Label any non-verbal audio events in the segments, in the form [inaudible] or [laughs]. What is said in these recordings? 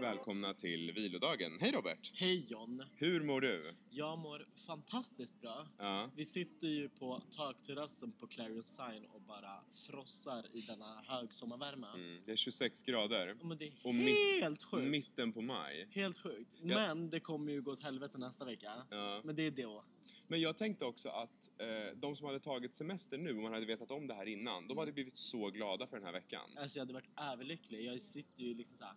välkomna till vilodagen. Hej Robert! Hej John! Hur mår du? Jag mår fantastiskt bra. Ja. Vi sitter ju på takterrassen på Clarion Sign och bara frossar i denna högsommarvärme. Mm. Det är 26 grader. Ja, Men det är Och mitt- helt sjukt! Mitten på maj. Helt sjukt. Ja. Men det kommer ju gå åt helvete nästa vecka. Ja. Men det Alltså, är då. Men jag tänkte också att eh, de som hade tagit semester nu, om man hade vetat om det här innan, de Mm. hade blivit så glada för den här veckan. Alltså jag hade varit överlycklig. Jag sitter ju liksom såhär...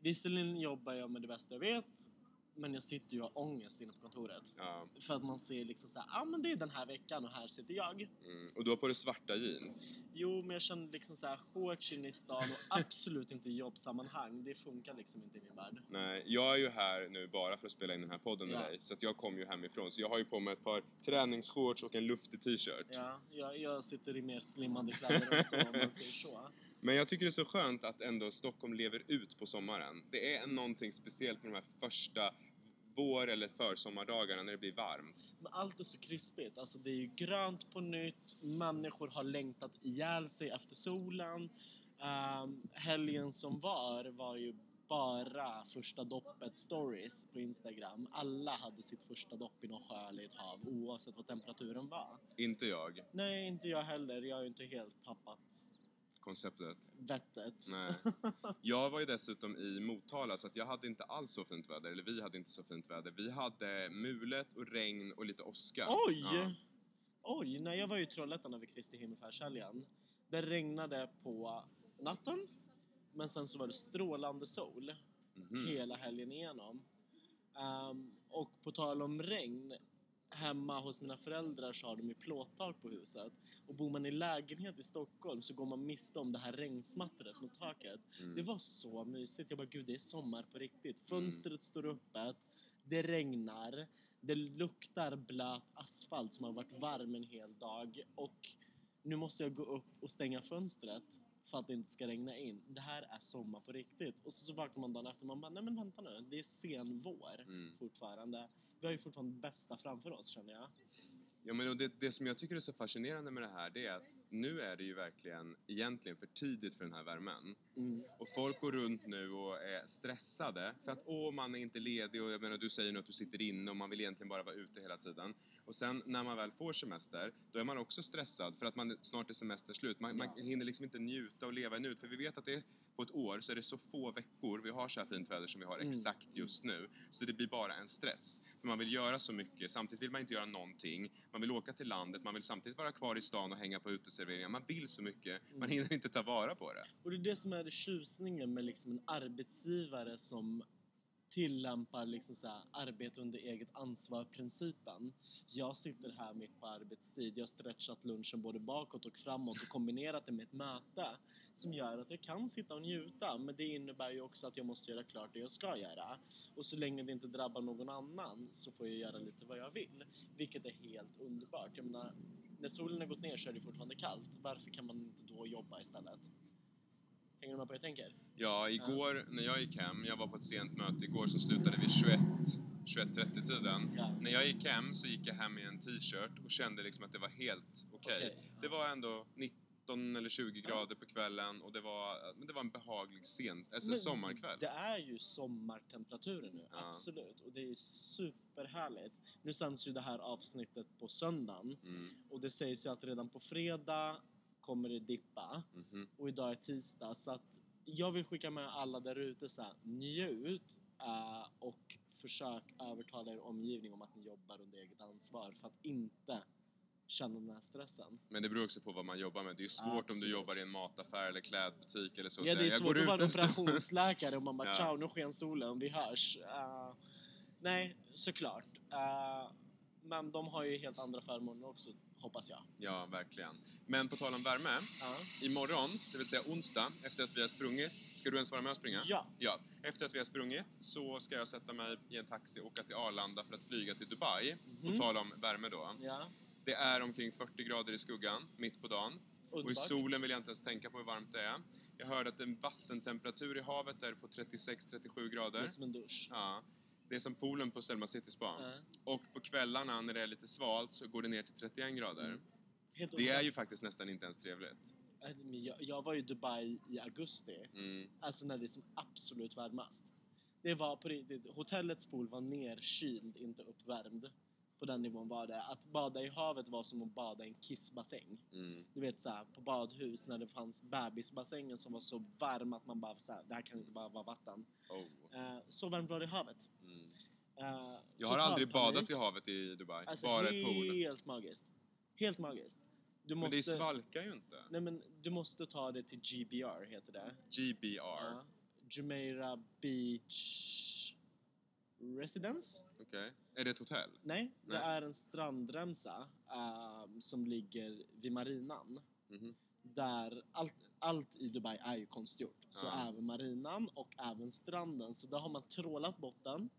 Visserligen jobbar jag med det bästa jag vet, men jag sitter ju och har ångest inne på kontoret. Ja. För att man ser liksom såhär, ja ah, men det är den här veckan och här sitter jag. Mm. Och du har på dig svarta jeans. Jo, men jag känner liksom såhär, shorts in i stan och absolut inte i jobbsammanhang. Det funkar liksom inte i min värld. Nej, jag är ju här nu bara för att spela in den här podden med Ja. dig, så att jag kom ju hemifrån. Så jag har ju på mig ett par träningsshorts och en luftig t-shirt. Ja, jag, jag sitter i mer slimmade kläder än så, om man säger så. Men jag tycker det är så skönt att ändå Stockholm lever ut på sommaren. Det är någonting speciellt med de här första vår eller försommardagarna när det blir varmt. Men allt är så krispigt. Alltså det är ju grönt på nytt, människor har längtat ihjäl sig efter solen. Ehm, helgen som var var ju bara första doppet stories på Instagram. Alla hade sitt första dopp i någon sjö eller ett hav oavsett vad temperaturen var. Inte jag, Nej, inte jag heller. Jag har ju inte helt tappat konceptet. vettet. [laughs] Nej. Jag var ju dessutom i Motala så att jag hade inte alls så fint väder, eller vi hade inte så fint väder. Vi hade mulet och regn och lite åska. Oj! Ja. Oj, när jag var i Trollhättan över Kristi himmelsfärdshelgen. Det regnade på natten, men sen så var det strålande sol Mhm. hela helgen igenom. Ehm, och på tal om regn, hemma hos mina föräldrar så har de ju plåttak på huset. Och bor man i lägenhet i Stockholm så går man miste om det här regnsmattret mot taket. Mm. Det var så mysigt. Jag bara, gud det är sommar på riktigt. Fönstret står öppet, det regnar, det luktar blöt asfalt som har varit varm en hel dag och nu måste jag gå upp och stänga fönstret för att det inte ska regna in. Det här är sommar på riktigt. Och så, så vaknar man dagen efter och man bara, nej men vänta nu, det är sen vår Mm. fortfarande. Vi har ju fortfarande det bästa framför oss känner jag. Ja, men och det, det som jag tycker är så fascinerande med det här det är att nu är det ju verkligen egentligen för tidigt för den här värmen. Mm. Och folk går runt nu och är stressade för att åh, man är inte ledig och jag menar du säger nu att du sitter inne och man vill egentligen bara vara ute hela tiden. Och sen när man väl får semester, då är man också stressad för att man snart är semestern slut. Man, man hinner liksom inte njuta och leva i nuet för vi vet att det på ett år så är det så få veckor vi har så här fint väder som vi har exakt just nu. Så det blir bara en stress. För man vill göra så mycket, samtidigt vill man inte göra någonting. Man vill åka till landet, man vill samtidigt vara kvar i stan och hänga på uteserveringar. Man vill så mycket, man hinner inte ta vara på det. Och det är det som är det tjusningen med liksom en arbetsgivare som tillämpar liksom så här, arbete under eget ansvar-principen. Jag sitter här mitt på arbetstid, jag har stretchat lunchen både bakåt och framåt och kombinerat det med ett möte som gör att jag kan sitta och njuta men det innebär ju också att jag måste göra klart det jag ska göra. Och så länge det inte drabbar någon annan så får jag göra lite vad jag vill, vilket är helt underbart. Jag menar, när solen har gått ner så är det fortfarande kallt. Varför kan man inte då jobba istället? Hänger du med på vad jag tänker? Ja, igår när jag gick hem, jag var på ett sent möte igår som slutade vid 21, 21.30 tiden. Ja. När jag gick hem så gick jag hem i en t-shirt och kände liksom att det var helt okej. Okej, ja. Det var ändå 19 eller 20 grader på kvällen och det var, men det var en behaglig sen, alltså Men sommarkväll. Det är ju sommartemperaturer nu, Ja. absolut. Och det är ju superhärligt. Nu sänds ju det här avsnittet på söndagen Mm. och det sägs ju att redan på fredag kommer det dippa Mhm. och idag är tisdag så att jag vill skicka med alla där ute så här, njut eh, och försök övertala er omgivning om att ni jobbar under eget ansvar för att inte känna den här stressen. Men det beror också på vad man jobbar med. Det är ju svårt om du Absolut. jobbar i en mataffär eller klädbutik eller så. Ja, säga, det är "Jag går svårt att ut vara en en stund." operationsläkare och man bara Ja. ciao, nu sken solen, vi hörs. Eh, nej, såklart. Eh, men de har ju helt andra förmåner också, hoppas jag. [laughs] Ja, verkligen. Men på tal om värme. Ja. Imorgon, det vill säga onsdag, efter att vi har sprungit... Ska du ens vara med och springa? Ja. Ja, efter att vi har sprungit så ska jag sätta mig i en taxi och åka till Arlanda för att flyga till Dubai. Mm. På tal om värme då. ja. Det är omkring 40 grader i skuggan, mitt på dagen. Och i Underbart. solen vill jag inte ens tänka på hur varmt det är. Jag hörde att en vattentemperatur i havet är på 36-37 Det är grader. som en dusch. Eh, Ja. Det är som poolen på Selma City Spa. Ja. Och på kvällarna när det är lite svalt så går det ner till 31 grader. Mm, Helt Eh, Det är underbart. ju faktiskt nästan inte ens trevligt. Men Jag, jag var ju i Dubai i augusti, Mm. alltså när det är som absolut varmast. Det var på riktigt, hotellets pool var nerkyld, inte uppvärmd. På den nivån var det. Att bada i havet var som att bada i en kissbassäng. Mm. Du vet såhär på badhus när det fanns bebisbassänger som var så varm att man bara såhär, det här kan inte bara vara vatten. Oh. Eh, så varmt var det i havet. Mm. Eh, Jag har total aldrig badat panik. i havet i Dubai, Alltså, bara i helt pool. magiskt. Helt magiskt. Du Men måste, det svalkar ju inte. nej, men du måste ta det till GBR heter det. GBR. Ja. Jumeirah Beach Residence? Okej. Är det ett hotell? Nej, det Nej. är en strandremsa eh, som ligger vid marinan. Mhm. Där allt, allt i Dubai är ju konstgjort. Så Ja. även marinan och även stranden. Så där har man trålat botten,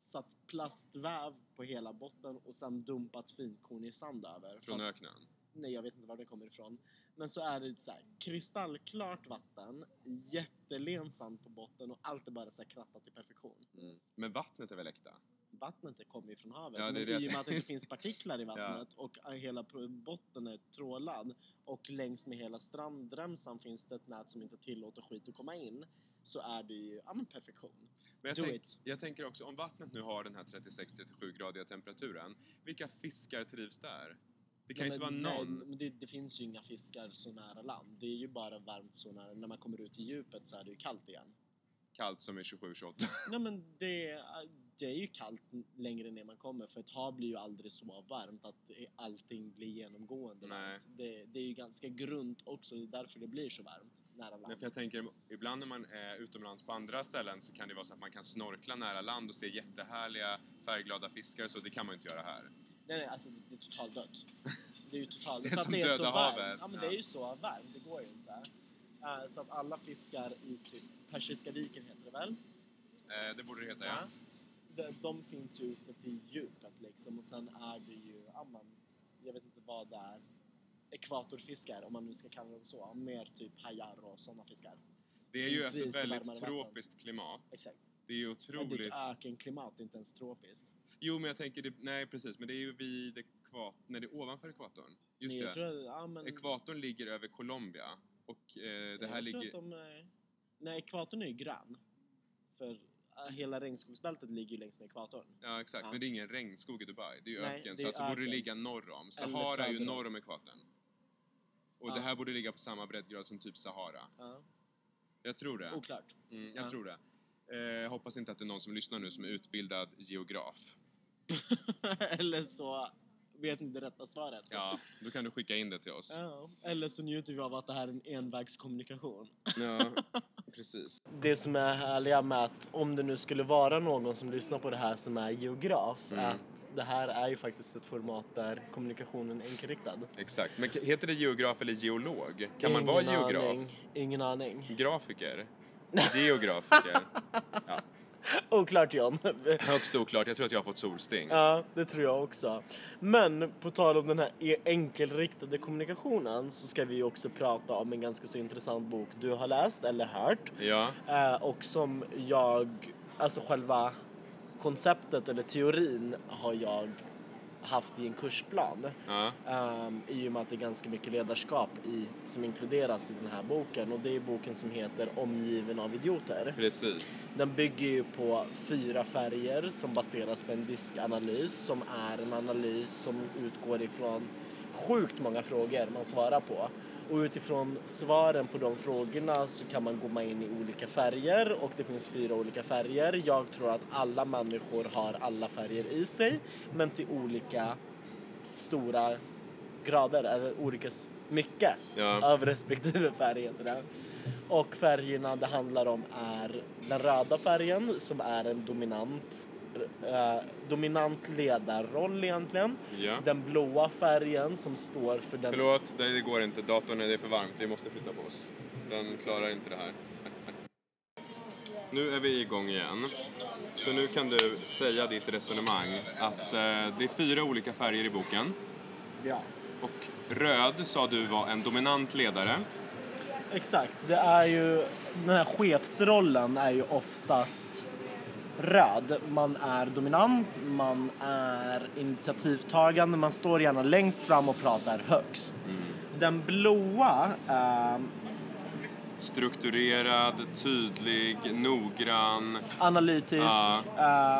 satt plastväv på hela botten och sen dumpat finkorn i sand över. Från För- öknen? nej jag vet inte var det kommer ifrån. Men så är det så här, kristallklart vatten, jättelen sand på botten och allt är bara så här krattat till perfektion. Mm. Men vattnet är väl äkta? Vattnet det kommer ju från havet, Ja, det är men det jag i och med att det inte tänkte. [laughs] finns partiklar i vattnet och hela pro- botten är trålad och längs med hela strandremsan finns det ett nät som inte tillåter skit att komma in så är det ju ja, men perfektion. Men jag, Do tänk, it! jag tänker också, om vattnet nu har den här 36-37-gradiga temperaturen, vilka fiskar trivs där? Det kan ju inte vara men någon. Nej, men det, det finns ju inga fiskar så nära land. Det är ju bara varmt så nära. När man kommer ut i djupet så är det ju kallt igen. kallt som är 27-28. [laughs] Nej men det, det är ju kallt längre ner man kommer för ett hav blir ju aldrig så varmt att allting blir genomgående Nej. varmt. Det, det är ju ganska grunt också, det är därför det blir så varmt nära Men land. för jag tänker, ibland när man är utomlands på andra ställen så kan det vara så att man kan snorkla nära land och se jättehärliga färgglada fiskar så det kan man ju inte göra här. Nej nej, alltså det är totalt dött. Det är ju [laughs] totalt Det är för att som så döda varmt. havet, Ja men ja. det är ju så varmt, det går ju inte. Eh, så att alla fiskar i typ Persiska viken heter det väl? Eh, det borde det heta, ja. De, de finns ju ute till djupet liksom och sen är det ju, ja, men, jag vet inte vad det är, ekvatorfiskar om man nu ska kalla dem så, mer typ hajar och sådana fiskar. Det är Som ju alltså ett trivs i väldigt varmare vatten. tropiskt klimat. Exakt. Det är ju Men det är otroligt. ett ökenklimat, inte ens tropiskt. Jo, men jag tänker, det, nej precis, men det är ju vid ekvatorn, nej det är ovanför ekvatorn. Just Men jag det. Tror, att- ja, men, Ekvatorn ligger över Colombia och eh, det här jag ligger... Tror att de, är- nej, ekvatorn är ju grön. För eh, hela regnskogsbältet ligger ju längs med ekvatorn. Ja, exakt. Ja. Men det är ingen regnskog i Dubai. Det är ju Nej, öken. det Så är alltså borde det öken. ligga norr om. Eller Sahara är ju söder om. norr om ekvatorn. Och Ja. det här borde ligga på samma breddgrad som typ Sahara. Ja. Jag tror det. Oklart. [laughs] Mm, jag Ja. tror det. Eh, jag hoppas inte att det är någon som lyssnar nu som är utbildad geograf. Eller så vet ni det rätta svaret. [laughs] Ja, då kan du skicka in det till oss. Ja, Eller så njuter vi av att det här är en envägskommunikation. [laughs] Ja, precis. Det som är härliga med att om det nu skulle vara någon som lyssnar på det här som är geograf, Mm. att det här är ju faktiskt ett format där kommunikationen är enkelriktad. Exakt. Men k- heter det geograf eller geolog? Kan man Ingen vara geograf? Aning, ingen aning. [laughs] Grafiker? Geografiker? ja. Oklart John. [laughs] Högst oklart. Jag tror att jag har fått solsting. ja, det tror jag också. Men på tal om den här e- enkelriktade kommunikationen så ska vi ju också prata om en ganska så intressant bok du har läst eller hört. Ja. Eh, och som jag, alltså själva konceptet eller teorin har jag haft i en kursplan. ja. Um, I och med att det är ganska mycket ledarskap i, som inkluderas i den här boken och det är boken som heter Omgiven av idioter. Precis. Den bygger ju på fyra färger som baseras på en diskanalys som är en analys som utgår ifrån sjukt många frågor man svarar på. Och utifrån svaren på de frågorna så kan man komma in i olika färger och det finns fyra olika färger. Jag tror att alla människor har alla färger i sig men till olika stora grader eller olika s- mycket Ja. av respektive färg heter det. Och färgerna det handlar om är den röda färgen som är en dominant, eh, dominant ledarroll egentligen. Ja. Den blåa färgen som står för den... Förlåt, det det går inte. Datorn är det är för varmt. Vi måste flytta på oss. Den klarar inte det här. Nu är vi igång igen. Så nu kan du säga ditt resonemang att eh, det är fyra olika färger i boken. Ja. Och röd sa du var en dominant ledare. Exakt, det är ju... Den här chefsrollen är ju oftast röd. Man är dominant, man är initiativtagande, man står gärna längst fram och pratar högst. Den blåa eh, Strukturerad, tydlig, noggrann. Analytisk, Ja.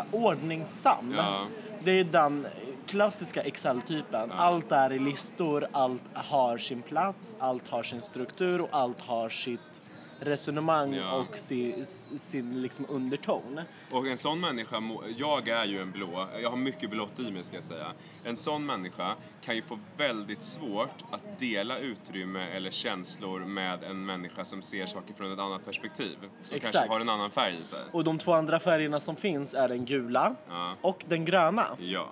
eh, ordningsam. Ja. Det är den klassiska Excel-typen. Allt är i listor, allt har sin plats, allt har sin struktur och allt har sitt resonemang Ja. och sin, sin liksom underton. Och en sån människa, må- jag är ju en blå, jag har mycket blått i mig ska jag säga. En sån människa kan ju få väldigt svårt att dela utrymme eller känslor med en människa som ser saker från ett annat perspektiv. Som Exakt. kanske har en annan färg i sig. Och de två andra färgerna som finns är den gula Ja. och den gröna. Ja.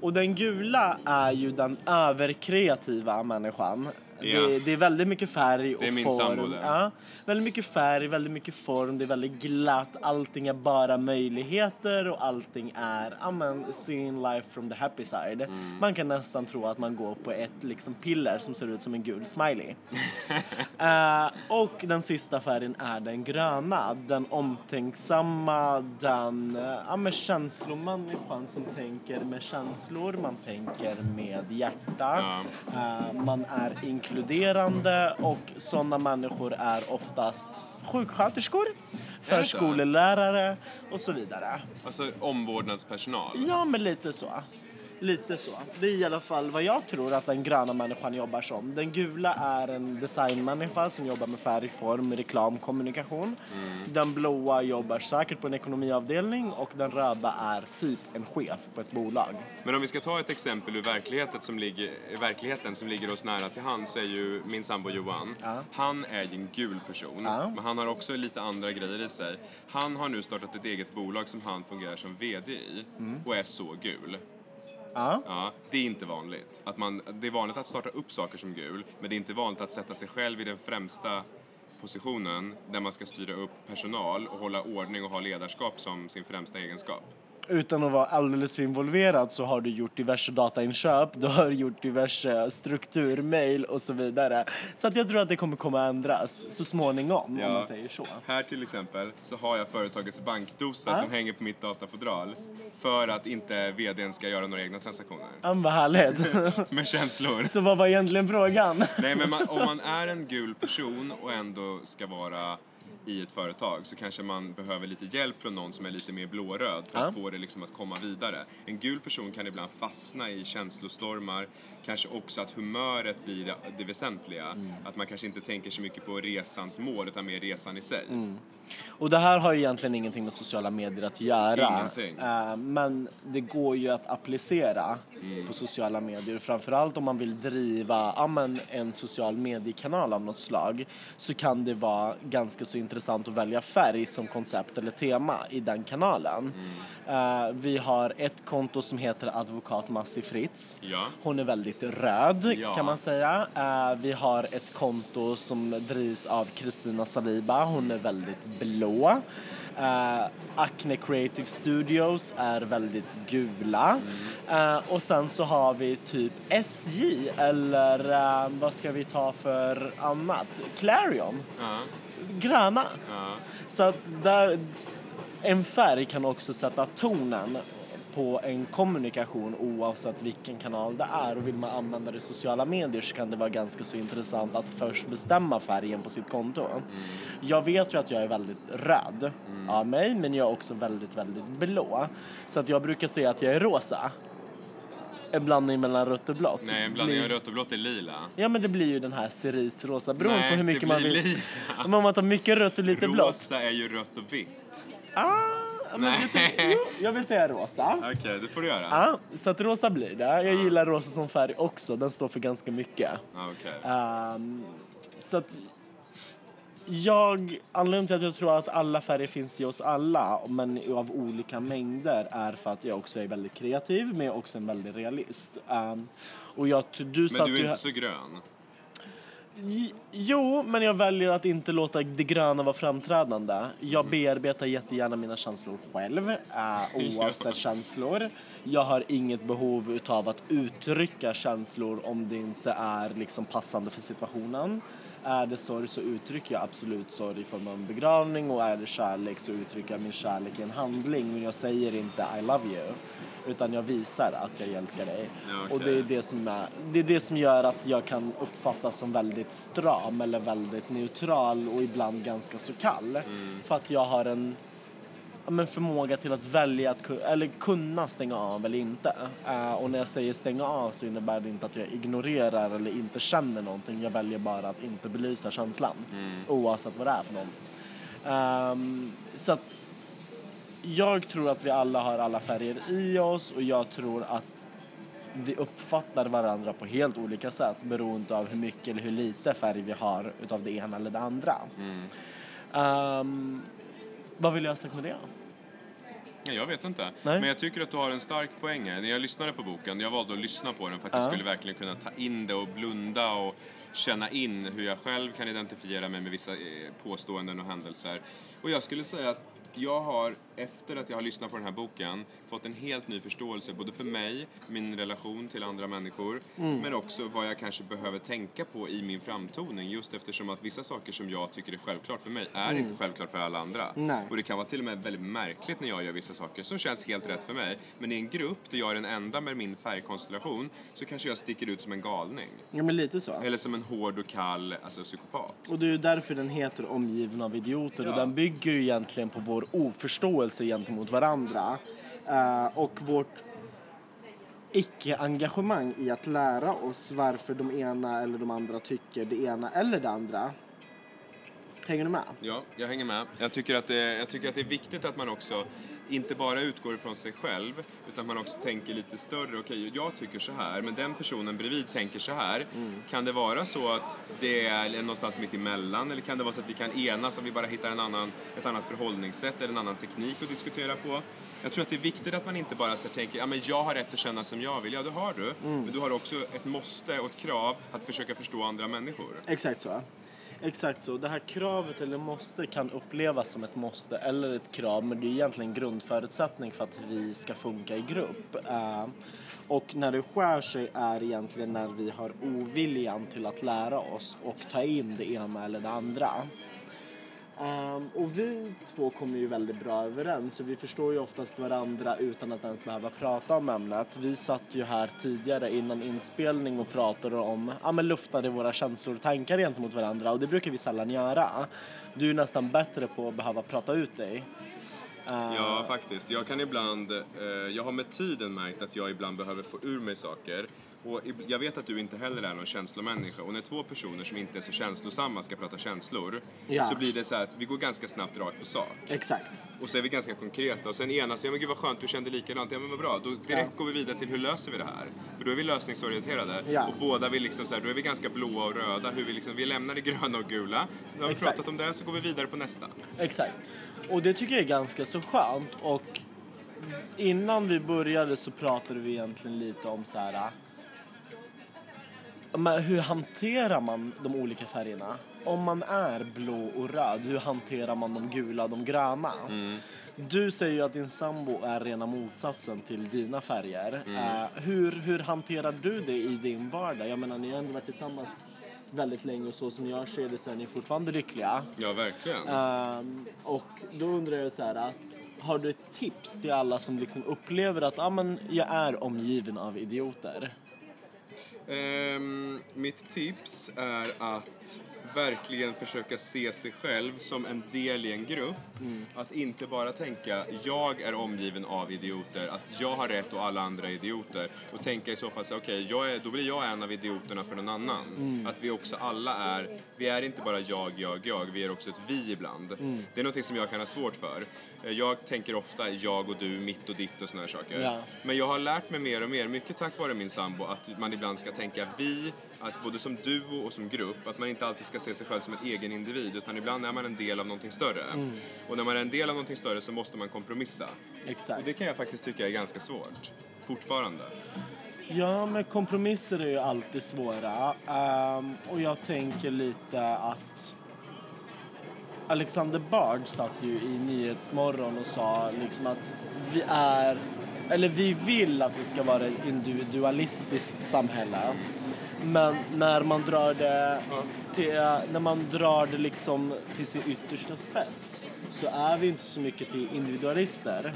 Och den gula är ju den överkreativa människan. Ja. Det, det är väldigt mycket färg och Det är min sambo form. där. Ja, väldigt mycket färg, väldigt mycket form, det är väldigt glatt. Allting är bara möjligheter och allting är ja, men, seeing life from the happy side. Mm. Man kan nästan tro att man går på ett liksom, piller som ser ut som en gul smiley. Eh, och den sista färgen är den gröna. Den omtänksamma, den eh, ja, men känslomänniskan som tänker med känslor, man tänker med hjärta. Ja. Eh, man är inkluderande och sådana människor är oftast sjuksköterskor, förskolelärare och så vidare. Alltså omvårdnadspersonal. Ja, men lite så. Lite så. Det är i alla fall vad jag tror att den gröna människan jobbar som. Den gula är en designmänniska som jobbar med färg, form, reklam, kommunikation. Den blåa jobbar säkert på en ekonomiavdelning och den röda är typ en chef på ett bolag. Men om vi ska ta ett exempel ur verkligheten som ligger, verkligheten som ligger oss nära till hands så är ju min sambo Johan. Ja. Han är ju en gul person, Ja. men han har också lite andra grejer i sig. Han har nu startat ett eget bolag som han fungerar som VD i och är så gul. Mm. Ja. Ja, det är inte vanligt. Att man, det är vanligt att starta upp saker som gul, men det är inte vanligt att sätta sig själv i den främsta positionen där man ska styra upp personal och hålla ordning och ha ledarskap som sin främsta egenskap. Utan att vara alldeles för involverad så har du gjort diverse datainköp, du har gjort diverse strukturmail och så vidare. Så att jag tror att det kommer komma ändras så småningom om Ja. man säger så. Här till exempel så har jag företagets bankdosa Ja. som hänger på mitt datafodral för att inte vdn ska göra några egna transaktioner. Ja, men vad härligt. [laughs] Med känslor. Så vad var egentligen frågan? Nej men man, om man är en gul person och ändå ska vara i ett företag så kanske man behöver lite hjälp från någon som är lite mer blåröd för att Ja. få det liksom att komma vidare. En gul person kan ibland fastna i känslostormar, kanske också att humöret blir det, det väsentliga. Mm. Att man kanske inte tänker så mycket på resans mål utan mer resan i sig. [laughs] Mm. Och det här har ju egentligen ingenting med sociala medier att göra. Ingenting. Eh, men det går ju att applicera Mm. på sociala medier. Framförallt om man vill driva ja, men en social mediekanal av något slag så kan det vara ganska så intressant att välja färg som koncept eller tema i den kanalen. Mm. Eh, vi har ett konto som heter Advokat Massi Fritz. Ja. Hon är väldigt röd Ja. kan man säga. Eh, vi har ett konto som drivs av Kristina Saliba. Hon är väldigt blå. Eh, Acne Creative Studios är väldigt gula. Eh, och sen så har vi typ SJ eller eh, vad ska vi ta för annat? Clarion. Ja, Gröna. ja. Så att där, en färg kan också sätta tonen på en kommunikation oavsett vilken kanal det är och vill man använda det i sociala medier så kan det vara ganska så intressant att först bestämma färgen på sitt konto. Jag vet ju att jag är väldigt röd Mm. av mig men jag är också väldigt, väldigt blå. Så att jag brukar säga att jag är rosa. En blandning mellan rött och blått. Nej, en blandning Blir- av rött och blått är lila. Ja men det blir ju den här cerisrosa beroende Nej, på hur mycket det man blir vill. lila. Men om man tar mycket rött och lite blått. Rosa är ju rött och vitt. Ah, men Nej. lite, jo, jag vill säga rosa. Okej, det får du göra. Ah, så att rosa blir det. Jag gillar rosa som färg också. Den står för ganska mycket. Ja, okej. Ehm, så att jag, anledningen till att jag tror att alla färger finns i oss alla, men av olika mängder, är för att jag också är väldigt kreativ, men jag är också en väldigt realist. Ehm, och jag, du Men satt du är ju inte här- så grön. J- Jo, men jag väljer att inte låta det gröna vara framträdande. Mm. Jag bearbetar jättegärna mina känslor [laughs] själv, eh, oavsett känslor. Jag har inget behov utav att uttrycka känslor om det inte är liksom passande för situationen. Är det sorg så uttrycker jag absolut sorg i form av en begravning och är det kärlek så uttrycker jag min kärlek i en handling men jag säger inte I love you. utan jag visar att jag älskar dig. Ja, Och det okej. är det, som är, det är det som gör att jag kan uppfattas som väldigt stram eller väldigt neutral och ibland ganska så kall. För att jag har en ja, men förmåga till att välja att ku- eller kunna stänga av eller inte. Eh, och när jag säger stänga av så innebär det inte att jag ignorerar eller inte känner någonting. Jag väljer bara att inte belysa känslan oavsett vad det är för någonting. Ehm, så att jag tror att vi alla har alla färger i oss och jag tror att vi uppfattar varandra på helt olika sätt beroende av hur mycket eller hur lite färg vi har utav det ena eller det andra. Ehm, vad vill jag ha sagt med det? Ja, jag vet inte. Nej. Men jag tycker att du har en stark poäng här. När jag lyssnade på boken, jag valde att lyssna på den för att jag skulle verkligen kunna ta in det och blunda och känna in hur jag själv kan identifiera mig med vissa eh, påståenden och händelser. Och jag skulle säga att jag har, efter att jag har lyssnat på den här boken, fått en helt ny förståelse både för mig, min relation till andra människor, men också vad jag kanske behöver tänka på i min framtoning. Just eftersom att vissa saker som jag tycker är självklart för mig är inte självklart för alla andra. Nej. Och det kan vara till och med väldigt märkligt när jag gör vissa saker som känns helt rätt för mig. Men i en grupp där jag är den enda med min färgkonstellation så kanske jag sticker ut som en galning. Ja, men lite så. Eller som en hård och kall alltså, psykopat. Och det är ju därför den heter Omgiven av idioter och Ja. den bygger ju egentligen på vår oförståelse gentemot varandra eh, och vårt icke-engagemang i att lära oss varför de ena eller de andra tycker det ena eller det andra. Hänger du med? Ja, jag hänger med. Jag tycker, att det, jag tycker att det är viktigt att man också inte bara utgår från sig själv utan man också tänker lite större. Okej, jag tycker så här, men den personen bredvid tänker så här. Kan det vara så att det är någonstans mitt emellan eller kan det vara så att vi kan enas om vi bara hittar en annan, ett annat förhållningssätt eller en annan teknik att diskutera på? Jag tror att det är viktigt att man inte bara så här tänker ja, men jag har rätt att känna som jag vill. Ja, det har du. Men du har också ett måste och ett krav att försöka förstå andra människor. Exakt så. Exakt så. Det här kravet eller måste kan upplevas som ett måste eller ett krav men det är egentligen en grundförutsättning för att vi ska funka i grupp. Eh, och när det skär sig är egentligen när vi har oviljan till att lära oss och ta in det ena eller det andra. Ehm, och vi två kommer ju väldigt bra överens så vi förstår ju oftast varandra utan att ens behöva prata om ämnet. Vi satt ju här tidigare innan inspelning och pratade om, ja men luftade våra känslor och tankar gentemot varandra och det brukar vi sällan göra. Du är nästan bättre på att behöva prata ut dig. Ja, faktiskt. Jag kan ibland... Eh, jag har med tiden märkt att jag ibland behöver få ur mig saker. Och ib- jag vet att du inte heller är någon känslomänniska. Och när två personer som inte är så känslosamma ska prata känslor Ja. så blir det så här att vi går ganska snabbt rakt på sak. Exakt. Och så är vi ganska konkreta. Och sen enas vi. Ja, men gud vad skönt, du kände likadant. Ja, men vad bra. Då direkt går vi vidare till hur löser vi det här? För då är vi lösningsorienterade. Ja. Och båda vill liksom så här, då är vi ganska blåa och röda. Hur vi liksom, vi lämnar det gröna och gula. Nu har vi Exakt. pratat om det, så går vi vidare på nästa. Exakt. Och det tycker jag är ganska så skönt och innan vi började så pratade vi egentligen lite om så här äh, men hur hanterar man de olika färgerna? Om man är blå och röd, hur hanterar man de gula och de gröna? Du säger ju att din sambo är rena motsatsen till dina färger. Eh, hur, hur hanterar du det i din vardag? Jag menar, ni har ändå varit tillsammans väldigt länge och så som jag ser det så är ni fortfarande lyckliga. Ja, verkligen. Ehm, och då undrar jag så här, har du ett tips till alla som liksom upplever att ah, men jag är omgiven av idioter? Ehm, mitt tips är att verkligen försöka se sig själv som en del i en grupp. Att inte bara tänka jag är omgiven av idioter, att jag har rätt och alla andra är idioter. Och tänka i så fall så här, okej, jag är- då blir jag en av idioterna för någon annan. Att vi också alla är, vi är inte bara jag, jag, jag, vi är också ett vi ibland. Det är någonting som jag kan ha svårt för. Eh, Jag tänker ofta jag och du, mitt och ditt och såna här saker. Ja. Men jag har lärt mig mer och mer, mycket tack vare min sambo, att man ibland ska tänka vi, att både som duo och som grupp, att man inte alltid ska se sig själv som en egen individ, utan ibland är man en del av någonting större. Och när man är en del av någonting större så måste man kompromissa. Och Exakt. det kan jag faktiskt tycka är ganska svårt, fortfarande. Ja, men kompromisser är ju alltid svåra. Ehm, och jag tänker lite att Alexander Bard satt ju i Nyhetsmorgon och sa liksom att vi är, eller vi vill att det ska vara ett individualistiskt samhälle. Men när man drar det, till, när man drar det liksom till sin yttersta spets så är vi inte så mycket till individualister.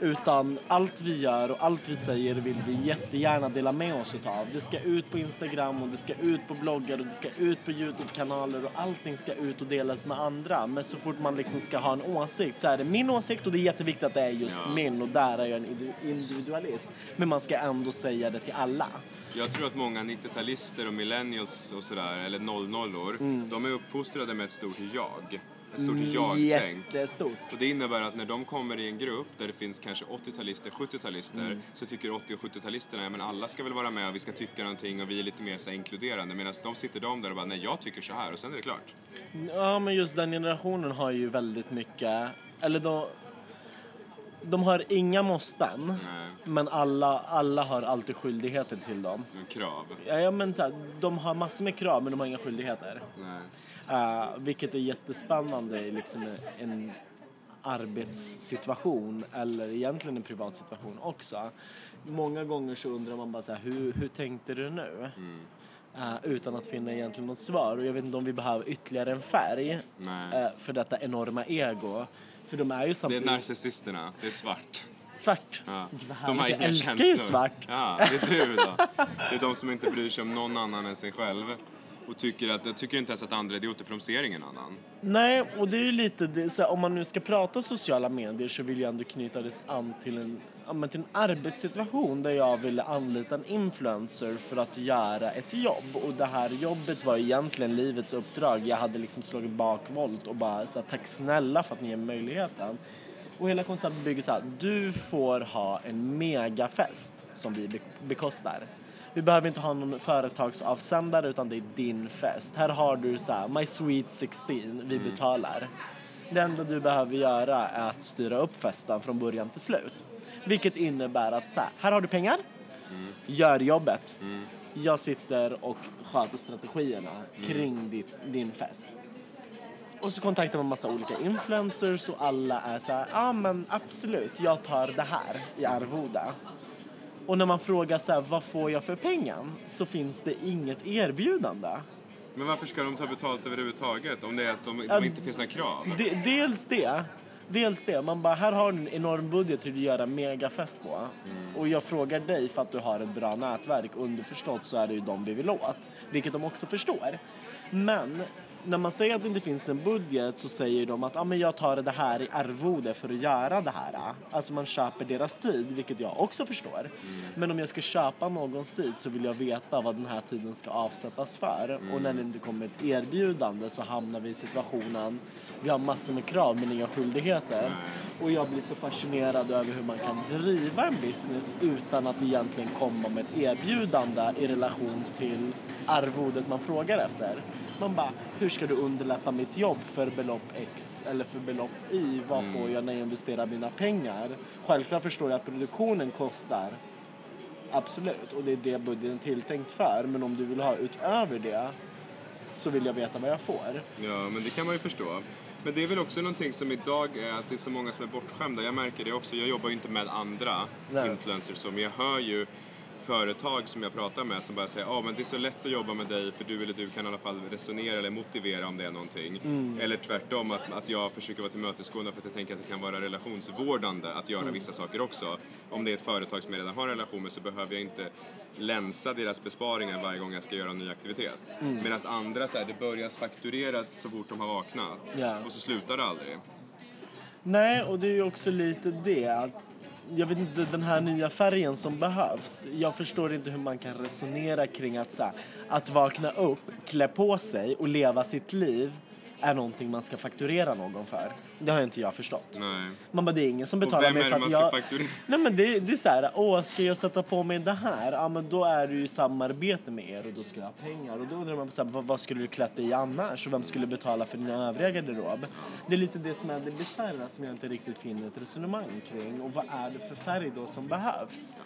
Utan allt vi gör och allt vi säger vill vi jättegärna dela med oss utav. Det ska ut på Instagram och det ska ut på bloggar och det ska ut på Youtube-kanaler och allting ska ut och delas med andra. Men så fort man liksom ska ha en åsikt så är det min åsikt och det är jätteviktigt att det är just Ja. min och där är jag en indi- individualist. Men man ska ändå säga det till alla. Jag tror att många 90-talister och millennials och sådär, eller 00-or, de är uppfostrade med ett stort jag. Ett stort Mm, jag-tänk. Jättestort. Och det innebär att när de kommer i en grupp där det finns kanske 80-talister, 70-talister Mm. så tycker 80 och 70-talisterna ja, men alla ska väl vara med och vi ska tycka någonting och vi är lite mer så här, inkluderande medan de sitter de där och bara nej jag tycker så här och sen är det klart. Ja, men just den generationen har ju väldigt mycket... Eller de... De har inga måsten, Nej, men alla, alla har alltid skyldigheter till dem. men krav. Ja, ja, men så här, de har massor med krav, men de har inga skyldigheter. Nej. Eh, vilket är jättespännande i liksom en arbetssituation eller egentligen en privat situation också. Många gånger så undrar man bara så här, hur, hur tänkte du nu? Mm. Eh, utan att finna egentligen något svar. Och jag vet inte om vi behöver ytterligare en färg Nej. eh, för detta enorma ego. För de är ju Det är samtidigt narcissisterna, det är svart. svart. Ja. Gud, vad De har härligt. inga jag älskar känslor. ju svart. Ja, det är du då. Det är de som inte bryr sig om någon annan än sig själv. Och tycker, att, jag tycker inte ens att andra är idioter för de ser ingen annan. Nej, och det är ju lite det, så här, om man nu ska prata sociala medier så vill jag ändå knyta det an till en, ja, men till en arbetssituation där jag ville anlita en influencer för att göra ett jobb. Och det här jobbet var egentligen livets uppdrag. Jag hade liksom slagit bakvolt och bara så här, tack snälla för att ni ger mig möjligheten. Och hela konceptet bygger så här, du får ha en megafest som vi be- bekostar. Vi behöver inte ha någon företagsavsändare utan det är din fest. Här har du så här, My Sweet 16, vi betalar. Det enda du behöver göra är att styra upp festen från början till slut. Vilket innebär att så här, här har du pengar, gör jobbet. Jag sitter och sköter strategierna kring ditt, din fest. Och så kontaktar man massa olika influencers och alla är så här, ja ah, men absolut, jag tar det här i arvoda. Och när man frågar så här, vad får jag för pengen? Så finns det inget erbjudande. Men varför ska de ta betalt överhuvudtaget om det är att de, Ja, de inte finns några krav? De, dels det. Dels det. Man bara, här har du en enorm budget hur du gör en megafest på. Och jag frågar dig för att du har ett bra nätverk. Underförstått så är det ju de vi vill åt. Vilket de också förstår. Men när man säger att det inte finns en budget så säger de att ah, men jag tar det här i arvode för att göra det här. Alltså man köper deras tid, vilket jag också förstår. Men om jag ska köpa någons tid så vill jag veta vad den här tiden ska avsättas för. Och när det inte kommer ett erbjudande så hamnar vi i situationen, vi har massor med krav men inga skyldigheter. Och jag blir så fascinerad över hur man kan driva en business utan att egentligen komma med ett erbjudande i relation till arvodet man frågar efter. Man bara, hur ska du underlätta mitt jobb för belopp X eller för belopp Y? Vad får jag när jag investerar mina pengar? Självklart förstår jag att produktionen kostar. Absolut, och det är det budgeten är tilltänkt för. Men om du vill ha utöver det så vill jag veta vad jag får. Ja, men det kan man ju förstå. Men det är väl också någonting som idag är att det är så många som är bortskämda. Jag märker det också. Jag jobbar ju inte med andra Nej. influencers, så, men jag hör ju företag som jag pratar med som bara säger ah, men det är så lätt att jobba med dig för du eller du kan i alla fall resonera eller motivera om det är någonting. Eller tvärtom, att, att jag försöker vara tillmötesgående för att jag tänker att det kan vara relationsvårdande att göra vissa saker också. Om det är ett företag som jag redan har en relation med så behöver jag inte länsa deras besparingar varje gång jag ska göra en ny aktivitet. Medan andra, så här, det börjar faktureras så fort de har vaknat Ja. och så slutar det aldrig. Nej, och det är ju också lite det att jag vet inte, den här nya färgen som behövs. Jag förstår inte hur man kan resonera kring att så här, att vakna upp, klä på sig och leva sitt liv är någonting man ska fakturera någon för. Det har inte jag förstått. Nej. Man bara, det är ingen som Och betalar vem mig är för det att man ska jag... fakturera? [laughs] Nej men det, det är så här, åh ska jag sätta på mig det här? Ja men då är det ju samarbete med er och då ska jag ha pengar. Och då undrar man så här, vad, vad skulle du klätt dig i annars? Och vem skulle betala för din övriga garderob? Det är lite det som är det bisarra som jag inte riktigt finner ett resonemang kring. Och vad är det för färg då som behövs?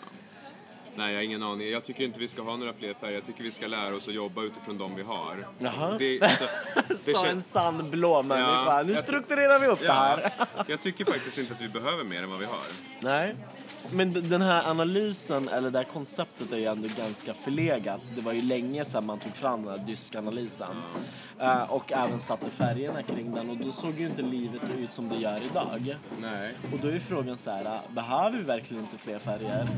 Nej, jag har ingen aning. Jag tycker inte vi ska ha några fler färger. Jag tycker vi ska lära oss att jobba utifrån de vi har. Jaha. [laughs] Det, alltså, det Sa en känns- sann blå människa. Ja, nu jag- strukturerar vi upp det ja, [laughs] här. jag tycker faktiskt inte att vi behöver mer än vad vi har. Nej. Men d- den här analysen, eller det här konceptet är ju ändå ganska förlegat. Det var ju länge sedan man tog fram den här dyskanalysen. Eh, och även satte färgerna kring den och då såg ju inte livet ut som det gör idag. Nej. Och då är ju frågan så här, eh, behöver vi verkligen inte fler färger?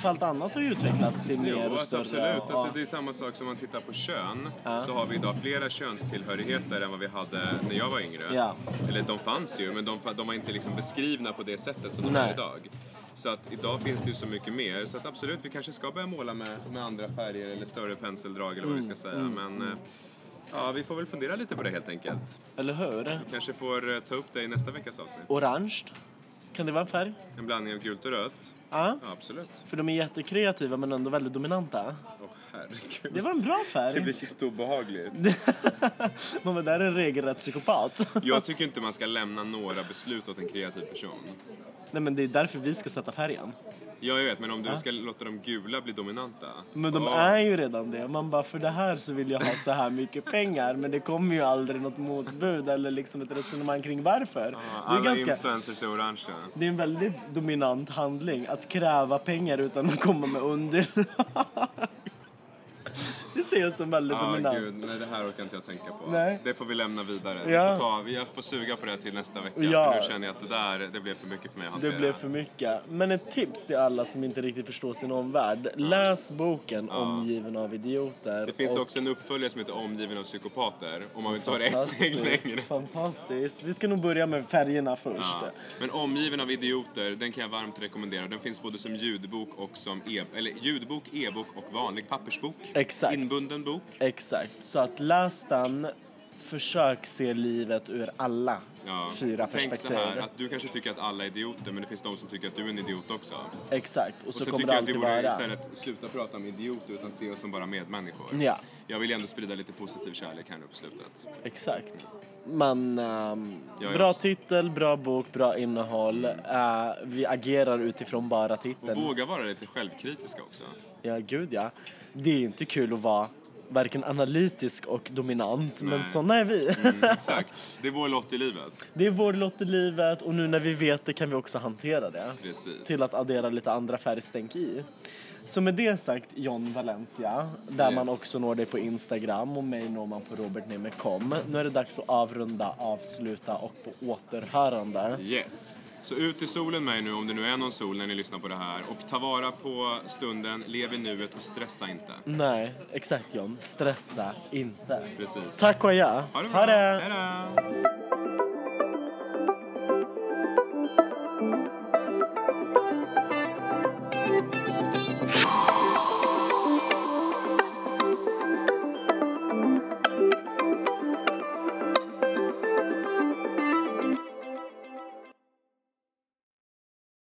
För allt annat har ju utvecklats till mer Jo, och alltså större. absolut. och- Alltså, det är samma sak som man tittar på kön. Ja. Så har vi idag flera könstillhörigheter än vad vi hade när jag var yngre. Ja. Eller de fanns ju, men de, fa- de var inte liksom beskrivna på det sättet som de Nej. är idag. Så att idag finns det ju så mycket mer. Så att absolut, vi kanske ska börja måla med, med andra färger eller större penseldrag eller vad vi ska säga. Mm. Men eh, ja, vi får väl fundera lite på det helt enkelt. Eller hur? Kanske får eh, ta upp det i nästa veckas avsnitt. Orange. Kan det vara en färg? En blandning av gult och rött. Ja. Ja, absolut. För de är jättekreativa men ändå väldigt dominanta. Åh herregud. Det var en bra Det färg. blir jätteobehagligt. Man var där är en regelrätt psykopat. Jag tycker inte man ska lämna några beslut åt en kreativ person. Nej men det är därför vi ska sätta färgen. Ja, jag vet, men om du ska låta de gula bli dominanta. Men de Åh, är ju redan det. Man bara, för det här så vill jag ha så här mycket pengar. Men det kommer ju aldrig något motbud eller liksom ett resonemang kring varför. Det är, Alla ganska, influencers är orangea. det är en väldigt dominant handling att kräva pengar utan att komma med underlag. Det ser jag som väldigt Ja, dominant. Ah, gud, nej det här orkar inte jag tänka på. Nej. Det får vi lämna vidare. Ja. Vi får ta, vi- jag får suga på det till nästa vecka. Ja. För nu känner jag att det där, det blev för mycket för mig att Det hantera. blev för mycket. Men ett tips till alla som inte riktigt förstår sin omvärld. Läs boken Omgiven av idioter. Ah. Det finns och- också en uppföljare som heter Omgiven av psykopater. Om man vill ta det ett steg längre. Fantastiskt, fantastiskt. Vi ska nog börja med färgerna först. Ja. Men Omgiven av idioter, den kan jag varmt rekommendera. Den finns både som ljudbok och som e eller ljudbok, e-bok och vanlig pappersbok. Exakt. Inbunden bok. Exakt. Så att läs den, försök se livet ur alla Ja. fyra Tänk perspektiv. så här, att du kanske tycker att alla är idioter, men det finns de som tycker att du är en idiot också. Och Exakt. Och så, så, kommer tycker det jag att vi alltid borde vara. istället sluta prata om idioter, utan se oss som bara medmänniskor. Ja, Jag vill ju ändå sprida lite positiv kärlek här nu på slutet. exakt. Men ehm, Jag är bra också- titel, bra bok, bra innehåll. Eh, vi agerar utifrån bara Och titeln. våga vara lite självkritiska också. Ja, gud ja. Det är inte kul att vara varken analytisk och dominant, men Nej. såna är vi. Mm, exakt. Det är vår lott i livet. Det är vår lott i livet och nu när vi vet det kan vi också hantera det. Precis. Till att addera lite andra färgstänk i. Så med det sagt, John Valencia, där Yes. man också når dig på Instagram och mig når man på robertneme.com. Nu är det dags att avrunda, avsluta och på återhörande. Yes. Så ut i solen med er nu, om det nu är någon sol när ni lyssnar på det här. Och ta vara på stunden, lev i nuet och stressa inte. Nej, exakt John. Stressa inte. Precis. Tack och adjö. Ha det bra. Hej då.